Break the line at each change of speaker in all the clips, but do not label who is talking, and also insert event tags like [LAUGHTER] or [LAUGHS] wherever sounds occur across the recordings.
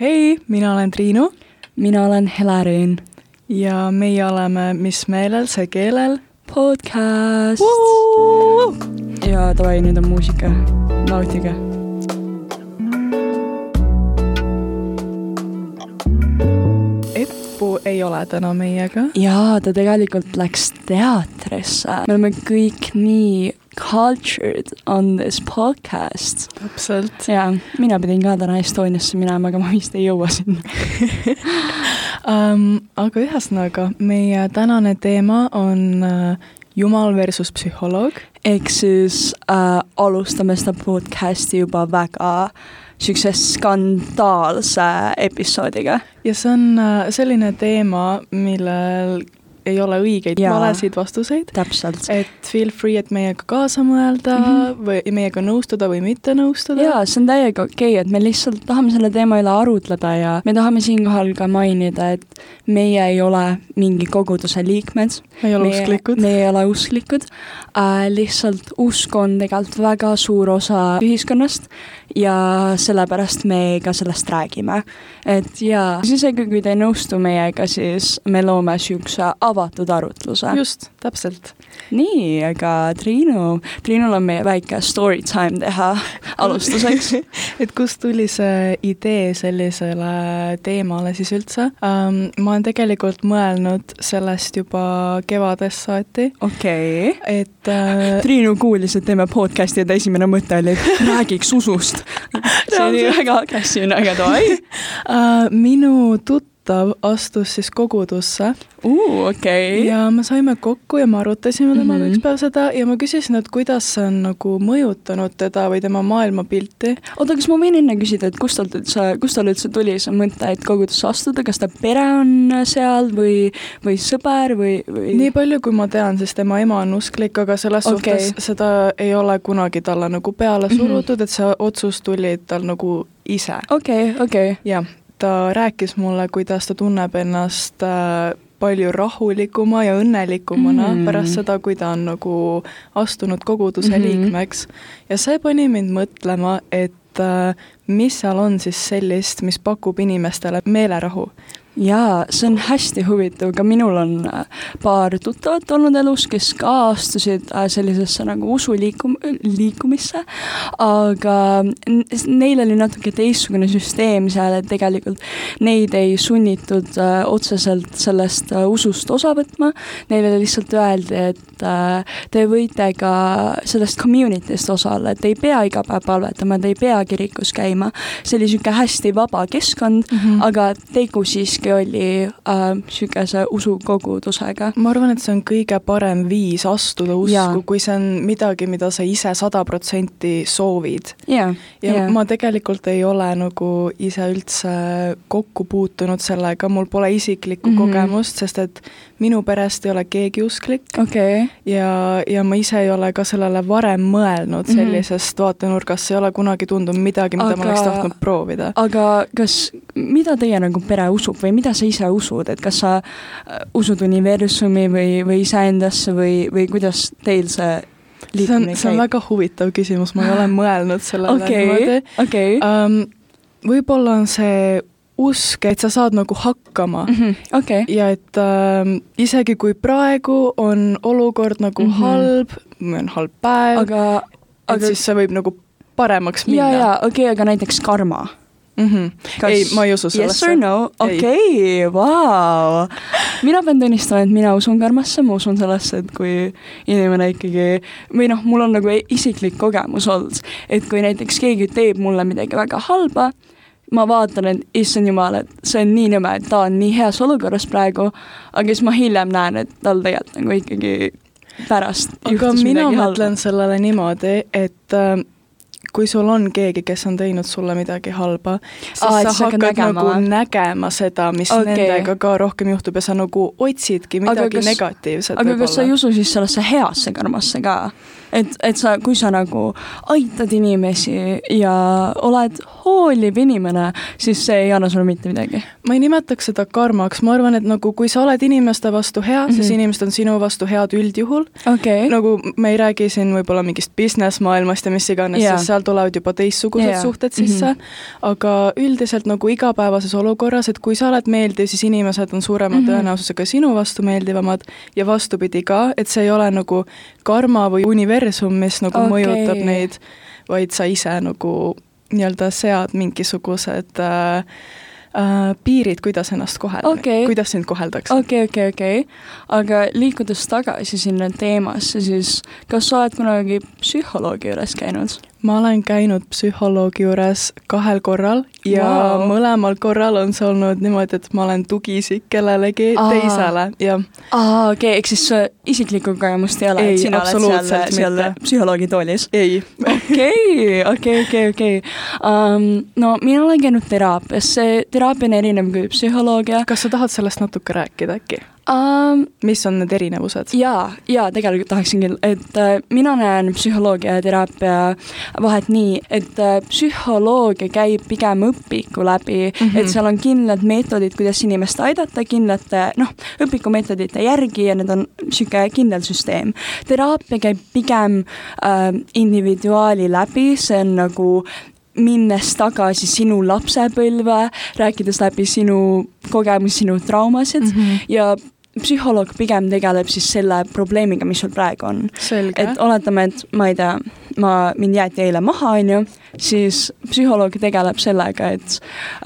hei , mina olen Triinu
mina olen Hela Röön .
ja meie oleme Mis meelel , see keelel .
podcast . ja davai , nüüd on muusika , nautige .
Eppu ei ole täna meiega .
ja ta tegelikult läks teatrisse , me oleme kõik nii cultured on this podcast .
täpselt .
ja mina pidin ka täna Estoniasse minema , aga ma vist ei jõua sinna .
um, . aga ühesõnaga , meie tänane teema on äh, jumal versus psühholoog .
ehk siis äh, alustame seda podcasti juba väga siukse skandaalse episoodiga .
ja see on äh, selline teema , millel ei ole õigeid ja
Jaa.
valesid vastuseid .
täpselt .
et feel free , et meiega kaasa mõelda mm -hmm.
Mhm.
või meiega nõustuda või mitte nõustuda .
jaa , see on täiega okei okay, , et me lihtsalt tahame selle teema üle arutleda ja me tahame siinkohal ka mainida , et meie ei ole mingi koguduse liikmed .
me ei ole usklikud .
me ei ole usklikud äh, . lihtsalt usk on tegelikult väga suur osa ühiskonnast ja sellepärast me ka sellest räägime . et jaa , isegi kui te ei nõustu meiega , siis me loome niisuguse avatud arutluse .
just , täpselt .
nii , aga Triinu , Triinul on meie väike story time
[LAUGHS]
teha alustuseks .
et kust tuli see idee sellisele teemale siis üldse um, ? ma olen tegelikult mõelnud sellest juba kevadest saati ,
okei okay. .
et äh,
Triinu kuulis , et teeme podcast'i ja ta esimene mõte oli , et räägiks usust . see oli
Reaalselt.
väga agressiivne , aga davai .
äh, minu tuttav astus siis kogudusse
okei .
ja me saime kokku ja me arutasime temaga mm
Mhm.
-hmm. ükspäev seda ja ma küsisin , et kuidas see on nagu mõjutanud teda või tema maailmapilti .
oota , kas ma võin enne küsida , et kust talt üldse , kust tal üldse tuli see mõte , et kogudusse astuda , kas ta pere on seal või , või sõber või , või ?
nii palju , kui ma tean , siis tema ema on usklik , aga selles okay.
Okei.
suhtes seda ei ole kunagi talle nagu peale
Mhm.
surutud mm , -hmm. et see otsus tuli tal nagu ise .
okei , okei .
jah , ta rääkis mulle , kuidas ta tunneb ennast äh, palju rahulikuma ja õnnelikumana mm
Mm.
-hmm. pärast seda , kui ta on nagu astunud koguduse mm
Mhm.
-hmm. liikmeks ja see pani mind mõtlema , et äh, mis seal on siis sellist , mis pakub inimestele meelerahu
jaa , see on hästi huvitav , ka minul on äh, paar tuttavat olnud elus , kes ka astusid äh, sellisesse nagu usuliikum- , liikumisse , aga n- s- neil oli natuke teistsugune süsteem seal , et tegelikult neid ei sunnitud äh, otseselt sellest äh, usust osa võtma , neile lihtsalt öeldi , et äh, te võite ka sellest community'st osa olla , et te ei pea iga päev palvetama , te ei pea kirikus käima , see oli niisugune hästi vaba keskkond ,
mm . -hmm.
aga tegu siiski oli niisuguse usukogudusega .
ma arvan , et see on kõige parem viis astuda
Jaa.
usku , kui see on midagi , mida sa ise sada protsenti soovid .
jaa ,
ja yeah.
jaa ,
ma tegelikult ei ole nagu ise üldse kokku puutunud sellega , mul pole isiklikku mm
Mhm.
-hmm. kogemust , sest et minu perest ei ole keegi usklik
okei ,
ja , ja ma ise ei ole ka sellele varem mõelnud mm
Mhm.
-hmm. sellisest vaatenurgast , see ei ole kunagi tundunud midagi , mida aga... ma oleks
Aga-
tahtnud proovida .
aga kas , mida teie nagu pere usub või mida sa ise usud , et kas sa äh, usud universumi või , või iseendasse või , või kuidas teil see
see on ,
liikumine
see on
käib ?
väga huvitav küsimus , ma ei ole mõelnud sellele okay. niimoodi
okei , okei ,
um, . võib-olla on see usk , et sa saad nagu hakkama mm
Mhm, okei ,
ja et um, isegi kui praegu on olukord nagu mm
Mhm.
-hmm. halb , või on halb päev , aga,
aga ,
et
aga
aga... siis see võib nagu paremaks
ja , ja
minna .
okei okay, , aga näiteks karma .
Mm -hmm.
Kas-
ei , ma ei usu
Yes
sellesse
or . no ,
Ei.
okei , vau . mina pean tunnistama , et mina usun karmasse , ma usun sellesse , et kui inimene ikkagi või noh , mul on nagu e- isiklik kogemus olnud , et kui näiteks keegi teeb mulle midagi väga halba , ma vaatan , et issand jumal , et see on nii nõme , et ta on nii heas olukorras praegu , aga siis ma hiljem näen , et tal tegelikult nagu ikkagi pärast
aga
juhtus
mina
midagi
mõtlen
halba .
sellele niimoodi , et um, kui sul on keegi , kes on teinud sulle midagi halba , siis
Aa,
Aa,
et
sa
sa hakkad
hakkad nägema.
nägema,
nagu
või?
nägema seda , mis okay.
Okei.
nendega ka rohkem juhtub ja sa nagu otsidki
Aga
midagi
kas-
negatiivset
aga kas sa
võib-olla.
ei usu siis sellesse heasse karmasse ka ? et , et sa , kui sa nagu aitad inimesi ja oled hooliv inimene , siis see ei anna sulle mitte midagi .
ma ei nimetaks seda karmaks , ma arvan , et nagu kui sa oled inimeste vastu hea mm , -hmm. siis
Mhm.
inimesed on sinu vastu head üldjuhul .
okei okay. ,
nagu me ei räägi siin võib-olla mingist business maailmast ja mis iganes
Jaa.
yeah. , sest seal tulevad juba teistsugused
Jaa. Mhm.
yeah. suhted sisse mm , -hmm. aga üldiselt nagu igapäevases olukorras , et kui sa oled meeldiv , siis inimesed on suurema mm
Mhm.
-hmm. tõenäosusega sinu vastu meeldivamad ja vastupidi ka , et see ei ole nagu karma või universum , mis nagu
Okei.
okay. mõjutab neid , vaid sa ise nagu nii-öelda sead mingisugused äh, äh, piirid , kuidas ennast kohelda
Okei.
kuidas sind koheldakse okay. .
okei , okei , okei , aga liikudes tagasi sinna teemasse , siis kas sa oled kunagi psühholoogi juures käinud ?
ma olen käinud psühholoogi juures kahel korral ja
Vau.
wow. mõlemal korral on see olnud niimoodi , et ma olen tugiisik kellelegi
Aa.
Aa. teisele ja
aa , okei okay, , ehk siis äh, isiklikku kogemust ei ole ,
Ei,
et sina oled seal ,
absoluutselt
seal
mitte.
psühholoogi toolis ?
ei .
okei , okei , okei , okei . no mina olen käinud teraapias , see teraapia on erinev kui psühholoogia
kas sa tahad sellest natuke rääkida äkki ?
um, .
mis on need erinevused ?
jaa , jaa , tegelikult tahaksingi , et äh, mina näen psühholoogia ja teraapia vahet nii , et äh, psühholoogia käib pigem õpiku läbi mm , -hmm.
Mhm.
et seal on kindlad meetodid , kuidas inimest aidata , kindlate noh , õpikumeetodite järgi ja need on niisugune kindel süsteem . teraapia käib pigem äh, individuaali läbi , see on nagu minnes tagasi sinu lapsepõlve , rääkides läbi sinu kogemusi , sinu traumasid mm , -hmm
Mhm.
ja psühholoog pigem tegeleb siis selle probleemiga , mis sul praegu on .
selge
et . oletame , et ma ei tea , ma , mind jäeti eile maha , on ju , siis psühholoog tegeleb sellega , et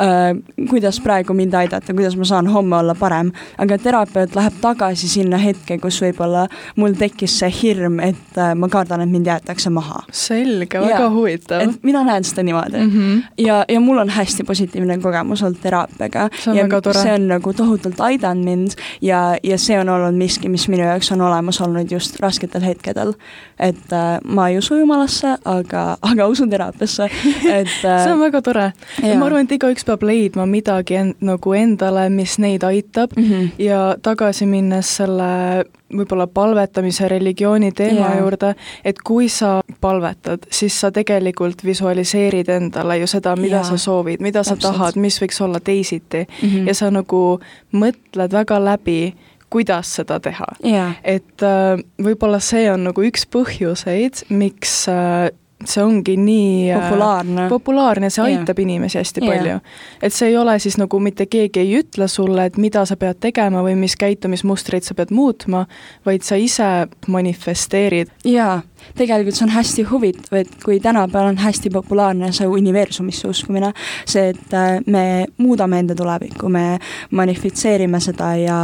äh, kuidas praegu mind aidata , kuidas ma saan homme olla parem . aga terapeut läheb tagasi sinna hetke , kus võib-olla mul tekkis see hirm , et äh, ma kardan , et mind jäetakse maha .
selge ,
Jaa.
väga huvitav .
et mina näen seda niimoodi mm .
-hmm.
ja , ja mul on hästi positiivne kogemus olnud teraapiaga .
See on
ja
väga tore.
see on nagu tohutult aidanud mind ja , ja see on olnud miski , mis minu jaoks on olemas olnud just rasketel hetkedel . et äh, ma ei usu jumalasse , aga , aga usun teraapiasse , et
[LAUGHS]
äh,
see on väga tore .
jaa.
ma arvan , et igaüks peab leidma midagi en- , nagu endale , mis neid aitab mm
Mhm.
ja tagasi minnes selle võib-olla palvetamise religiooni teema
Jaa.
yeah. juurde , et kui sa palvetad , siis sa tegelikult visualiseerid endale ju seda , mida
Jaa.
yeah. sa soovid , mida Täpselt. sa
Täpselt.
tahad , mis võiks olla teisiti mm .
Mhm.
-hmm. ja sa nagu mõtled väga läbi , kuidas seda teha
jaa ,
et äh, võib-olla see on nagu üks põhjuseid , miks äh, see ongi nii äh,
Populaarne.
populaarne , see
Ah. Jaa.
aitab inimesi hästi
Jaa.
palju . et see ei ole siis nagu mitte keegi ei ütle sulle , et mida sa pead tegema või mis käitumismustreid sa pead muutma , vaid sa ise manifesteerid .
jaa , tegelikult see on hästi huvitav , et kui tänapäeval on hästi populaarne see universumisse uskumine , see , et äh, me muudame enda tulevikku , me manifitseerime seda ja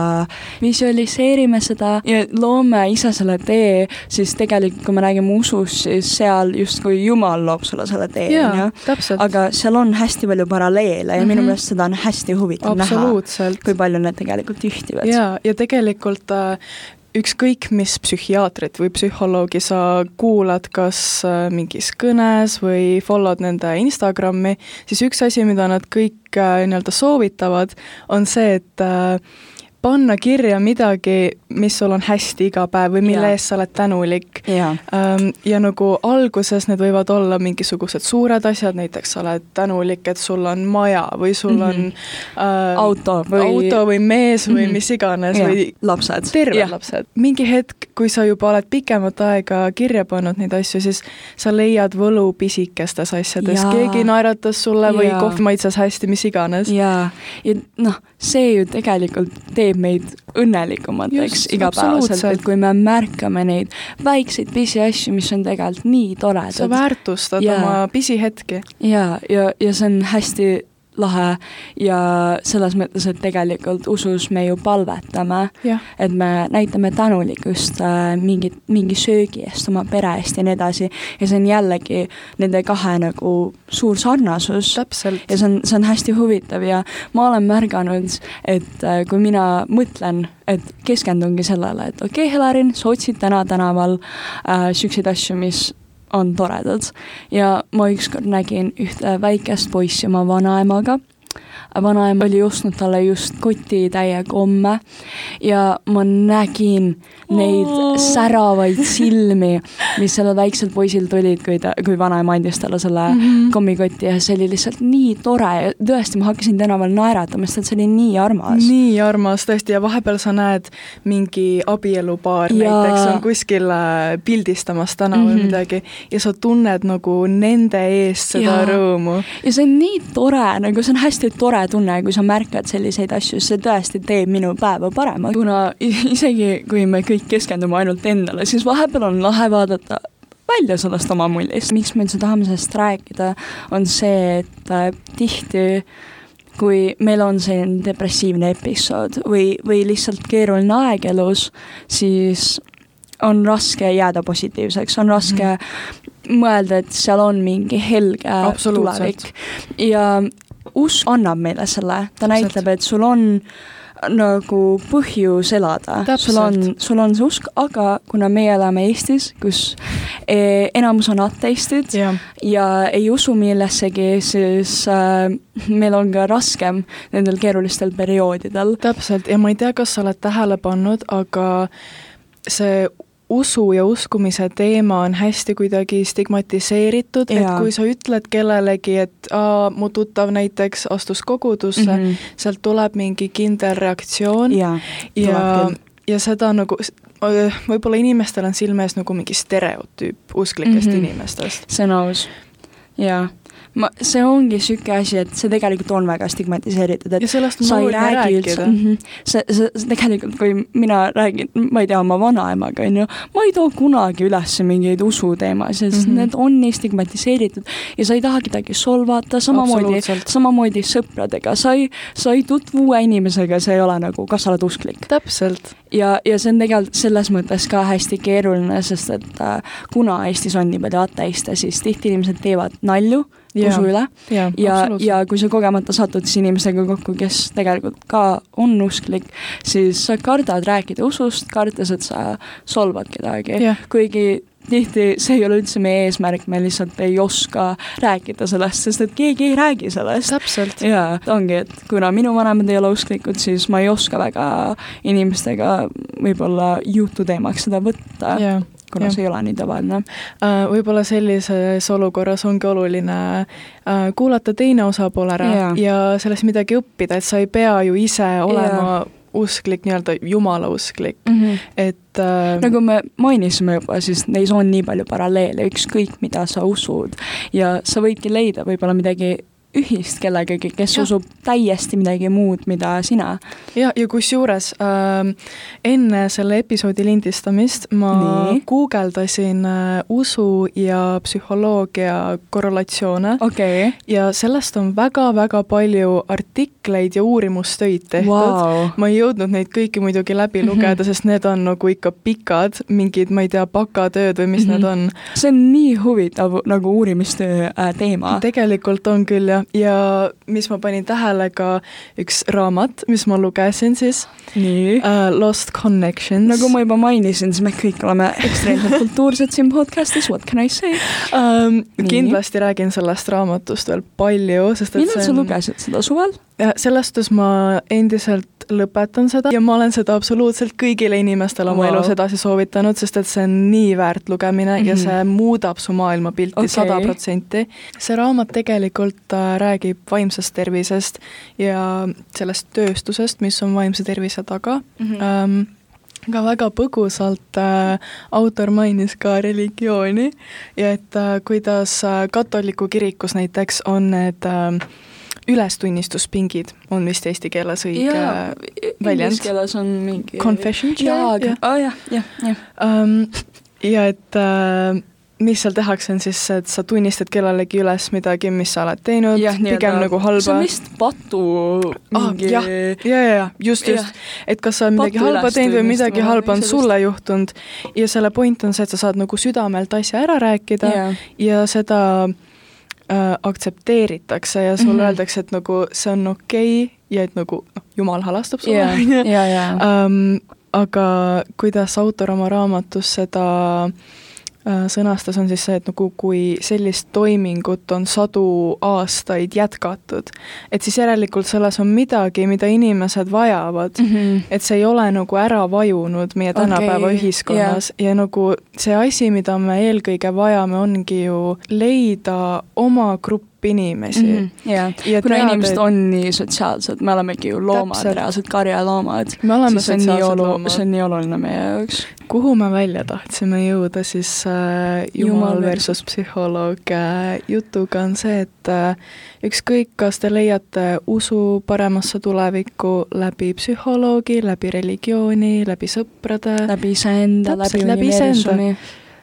visualiseerime seda ja loome ise selle tee , siis tegelikult , kui me räägime usust , siis seal justkui Jumal loob sulle selle tee , on ju .
täpselt
aga seal on hästi palju paralleele ja mm -hmm. minu
Mhm.
meelest seda on hästi huvitav näha ,
absoluutselt .
kui palju need tegelikult ühtivad .
jaa , ja tegelikult äh, ükskõik , mis psühhiaatrit või psühholoogi sa kuulad , kas äh, mingis kõnes või follow'd nende Instagrami , siis üks asi , mida nad kõik äh, nii-öelda soovitavad , on see , et äh, panna kirja midagi , mis sul on hästi iga päev või
Jaa.
mille eest sa oled tänulik
jaa ,
Ähm, ja nagu alguses need võivad olla mingisugused suured asjad , näiteks sa oled tänulik , et sul on maja või sul on
Mhm.
äh,
Auto või-
auto või mees või
Mhm.
mis iganes
Jaa.
või
Lapsed.
terved
Jah.
lapsed . mingi hetk , kui sa juba oled pikemat aega kirja pannud neid asju , siis sa leiad võlu pisikestes asjades ,
Jaa.
keegi naeratas sulle või
Jaa.
kohv maitses hästi , mis iganes .
jaa , ja noh , see ju tegelikult teeb meid õnnelikumateks
Just,
igapäevaselt ,
absoluutselt.
et kui me märkame neid väikseid pisiasju , mis on tegelikult nii
sa
toredad .
väärtustad
Jaa.
oma pisihetki .
jaa , ja , ja see on hästi lahe ja selles mõttes , et tegelikult usus me ju palvetame ,
Jah.
et me näitame tänulikkust äh, mingi , mingi söögi eest , oma pere eest ja nii edasi , ja see on jällegi nende kahe nagu suur sarnasus
täpselt
ja see on , see on hästi huvitav ja ma olen märganud , et äh, kui mina mõtlen , et keskendungi sellele , et okei okay, , Helarin , sa otsid täna tänaval äh, siukseid asju , mis on toredad ja ma ükskord nägin ühte väikest poissi oma vanaemaga vanaema oli ostnud talle just kotitäie komme ja ma nägin neid
Oo.
säravaid silmi , mis sellel väiksel poisil tulid , kui ta , kui vanaema andis talle selle
Mhm.
kommikoti ja see oli lihtsalt nii tore ja tõesti , ma hakkasin tänaval naeratama , sest et see oli nii armas .
nii armas tõesti ja vahepeal sa näed mingi abielupaar ja...
Jaa.
näiteks on kuskil äh, pildistamas tänaval mm
Mhm.
-hmm. midagi ja sa tunned nagu nende eest seda ja.
Jaa.
rõõmu .
ja see on nii tore , nagu see on hästi tore tunne , kui sa märkad selliseid asju , see tõesti teeb minu päeva paremaks . kuna i- isegi , kui me kõik keskendume ainult endale , siis vahepeal on lahe vaadata välja sellest oma muljest . miks me üldse tahame sellest rääkida , on see , et äh, tihti kui meil on siin depressiivne episood või , või lihtsalt keeruline aeg elus , siis on raske jääda positiivseks , on
Mhm.
raske mõelda , et seal on mingi helge
Absoluutselt.
tulevik . ja usk annab meile selle ,
Täpselt.
ta näitab , et sul on nagu põhjus elada , sul on
Täpselt. ,
sul on see usk , aga kuna meie elame Eestis , kus eh, enamus on ateistid
jah ,
ja ei usu millessegi , siis äh, meil on ka raskem nendel keerulistel perioodidel .
täpselt ja ma ei tea , kas sa oled tähele pannud , aga see usu ja uskumise teema on hästi kuidagi stigmatiseeritud , et
Jaa.
kui sa ütled kellelegi , et aa, mu tuttav näiteks astus kogudusse mm ,
Mhm.
-hmm. sealt tuleb mingi kindel reaktsioon
Jaa,
ja
tuleb ,
ja seda nagu s- öö, võib-olla inimestel on silme ees nagu mingi stereotüüp usklikest mm
Mhm.
-hmm. inimestest .
see on aus . jaa , ma , see ongi niisugune asi , et see tegelikult on väga stigmatiseeritud , et
ja sellest on
sa ei
oluline
räägi üldse
rääkida .
mm . -hmm. see, see , see tegelikult , kui mina räägin , ma ei tea , oma vanaemaga , on ju , ma ei too kunagi üles mingeid usuteemasid , sest
Mhm.
mm -hmm. need on nii stigmatiseeritud ja sa ei taha kedagi solvata , samamoodi ,
Absoluutselt.
samamoodi sõpradega , sa ei , sa ei tutvu uue inimesega , see ei ole nagu , kas sa oled usklik .
täpselt ,
ja , ja see on tegelikult selles mõttes ka hästi keeruline , sest et äh, kuna Eestis on nii palju ateiste , siis tihti inimesed teevad nalju
Jaa.
usu üle
jaa ,
ja ,
absoluutselt .
ja kui sa kogemata satud siis inimesega kokku , kes tegelikult ka on usklik , siis sa kardad rääkida usust , kartes , et sa solvad kedagi
Jah.
kuigi tihti see ei ole üldse meie eesmärk , me lihtsalt ei oska rääkida sellest , sest et keegi ei räägi sellest .
täpselt ,
jaa , ongi , et kuna minu vanemad ei ole usklikud , siis ma ei oska väga inimestega võib-olla jututeemaks seda võtta ,
jaa .
kuna see ei ole nii tavaline .
Äh, võib-olla sellises olukorras ongi oluline äh, kuulata teine osapool ära ja,
Jaa.
ja sellest midagi õppida , et sa ei pea ju ise olema usklik , nii-öelda jumalausklik , et äh,
Mm. nagu me mainisime juba , siis neis on nii palju paralleele , ükskõik mida sa usud ja sa võidki leida võib-olla midagi ühist kellegagi , kes
Jah.
ja. usub täiesti midagi muud , mida sina .
ja , ja kusjuures äh, enne selle episoodi lindistamist ma
Nii.
guugeldasin äh, usu ja psühholoogia korrelatsioone okay.
okei
ja sellest on väga-väga palju artikleid ja uurimustöid tehtud
Vau.
ma ei jõudnud neid kõiki muidugi läbi
Mhm.
lugeda mm , -hmm. sest need on nagu ikka pikad , mingid , ma ei tea , bakatööd või mis mm
Mhm.
-hmm. need on .
see on nii huvitav nagu uurimistöö äh, teema .
tegelikult on küll jah , ja mis ma panin tähele ka üks raamat , mis ma lugesin siis
nii äh, .
uh, , Lost Connections .
nagu ma juba mainisin , siis me kõik oleme
[LAUGHS]
ekstreemselt kultuursed siin podcast'is , what can I say ?
Um,
Nii.
kindlasti räägin sellest raamatust veel palju , sest et
millal sa lugesid seda suvel ?
Ja selles suhtes ma endiselt lõpetan seda ja ma olen seda absoluutselt kõigile inimestele oma
Vau.
wow. elus edasi soovitanud , sest et see on nii väärt lugemine mm -hmm. ja
Mhm.
see muudab su maailmapilti
Okei.
sada protsenti . see raamat tegelikult äh, räägib vaimsest tervisest ja sellest tööstusest , mis on vaimse tervise taga mm .
Mhm.
-hmm. Ähm, aga väga põgusalt äh, autor mainis ka religiooni ja et äh, kuidas äh, katoliku kirikus näiteks on need äh, ülestunnistuspingid , on vist eesti keeles õige
inglise
väljend .
keeles on mingi .
Confession chair,
jaa ,
jah.
jah , jah , jah .
Um, ja et äh, mis seal tehakse , on siis see , et sa tunnistad kellelegi üles midagi , mis sa oled teinud , pigem nagu
see
halba Mm,
on . vist patu mingi
jah , ja , ja , ja just ,
Jah.
just , et kas sa oled midagi
Patu
halba
üles
teinud või
tunnistama
midagi
või
halba on
sellest-
sulle juhtunud ja selle point on see , et sa saad nagu südamelt asja ära rääkida
Jaa.
ja seda äh, aktsepteeritakse ja sulle mm
Mhm.
-hmm. öeldakse , et nagu see on okei okay ja et nagu noh , jumal halastab sulle ,
Jaa,
on ju
jaa, [LAUGHS] jaa. .
Ähm, aga kuidas autor oma raamatus seda äh, sõnastas, on siis see, et nagu kui sellist toimingut on sadu aastaid jätkatud, et siis järelikult selles on midagi, mida inimesed vajavad mm.
-hmm.
et see ei ole nagu ära vajunud meie tänapäeva
Okei,
okay, ühiskonnas yeah. ja nagu see asi, mida me eelkõige vajame, ongi ju leida oma grupp inimesi mm. -hmm.
jah ,
ja
Mhm. kuna
teada,
inimesed
et-
on nii sotsiaalsed , me olemegi ju loomad ,
Täpselt.
reaalsed karjaloomad .
me oleme
see on nii
sotsiaalsed
olu- , see
loomad .
on nii oluline meie jaoks .
kuhu me välja tahtsime jõuda siis äh, Jumal
Jumal
versus psühholoog äh, jutuga on see , et äh, ükskõik , kas te leiate usu paremasse tulevikku läbi psühholoogi , läbi religiooni , läbi sõprade ,
läbi iseenda , läbi
Täpselt, läbi iseenda.
universumi .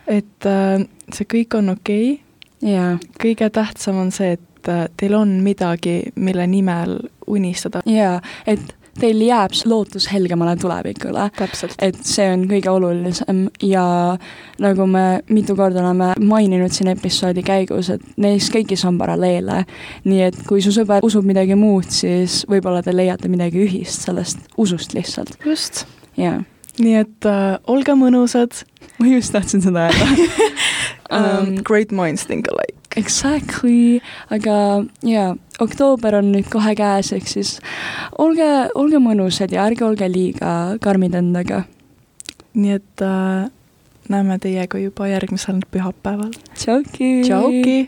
et äh, see kõik on okei okay. ,
jaa ,
kõige tähtsam on see , et äh, teil on midagi , mille nimel unistada .
jaa , et teil jääb see lootus helgemale tulevikule .
täpselt .
et see on kõige olulisem ja nagu me mitu korda oleme maininud siin episoodi käigus , et neis kõigis on paralleele . nii et kui su sõber usub midagi muud , siis võib-olla te leiate midagi ühist sellest usust lihtsalt ,
just ,
jaa .
nii et äh, olge mõnusad
ma just tahtsin seda [LAUGHS] öelda
um, . Great minds think alike .
Exactly , aga jaa , oktoober on nüüd kohe käes , ehk siis olge , olge mõnusad ja ärge olge liiga karmid endaga .
nii et äh, näeme teiega juba järgmisel pühapäeval .
tšauki !
tšauki .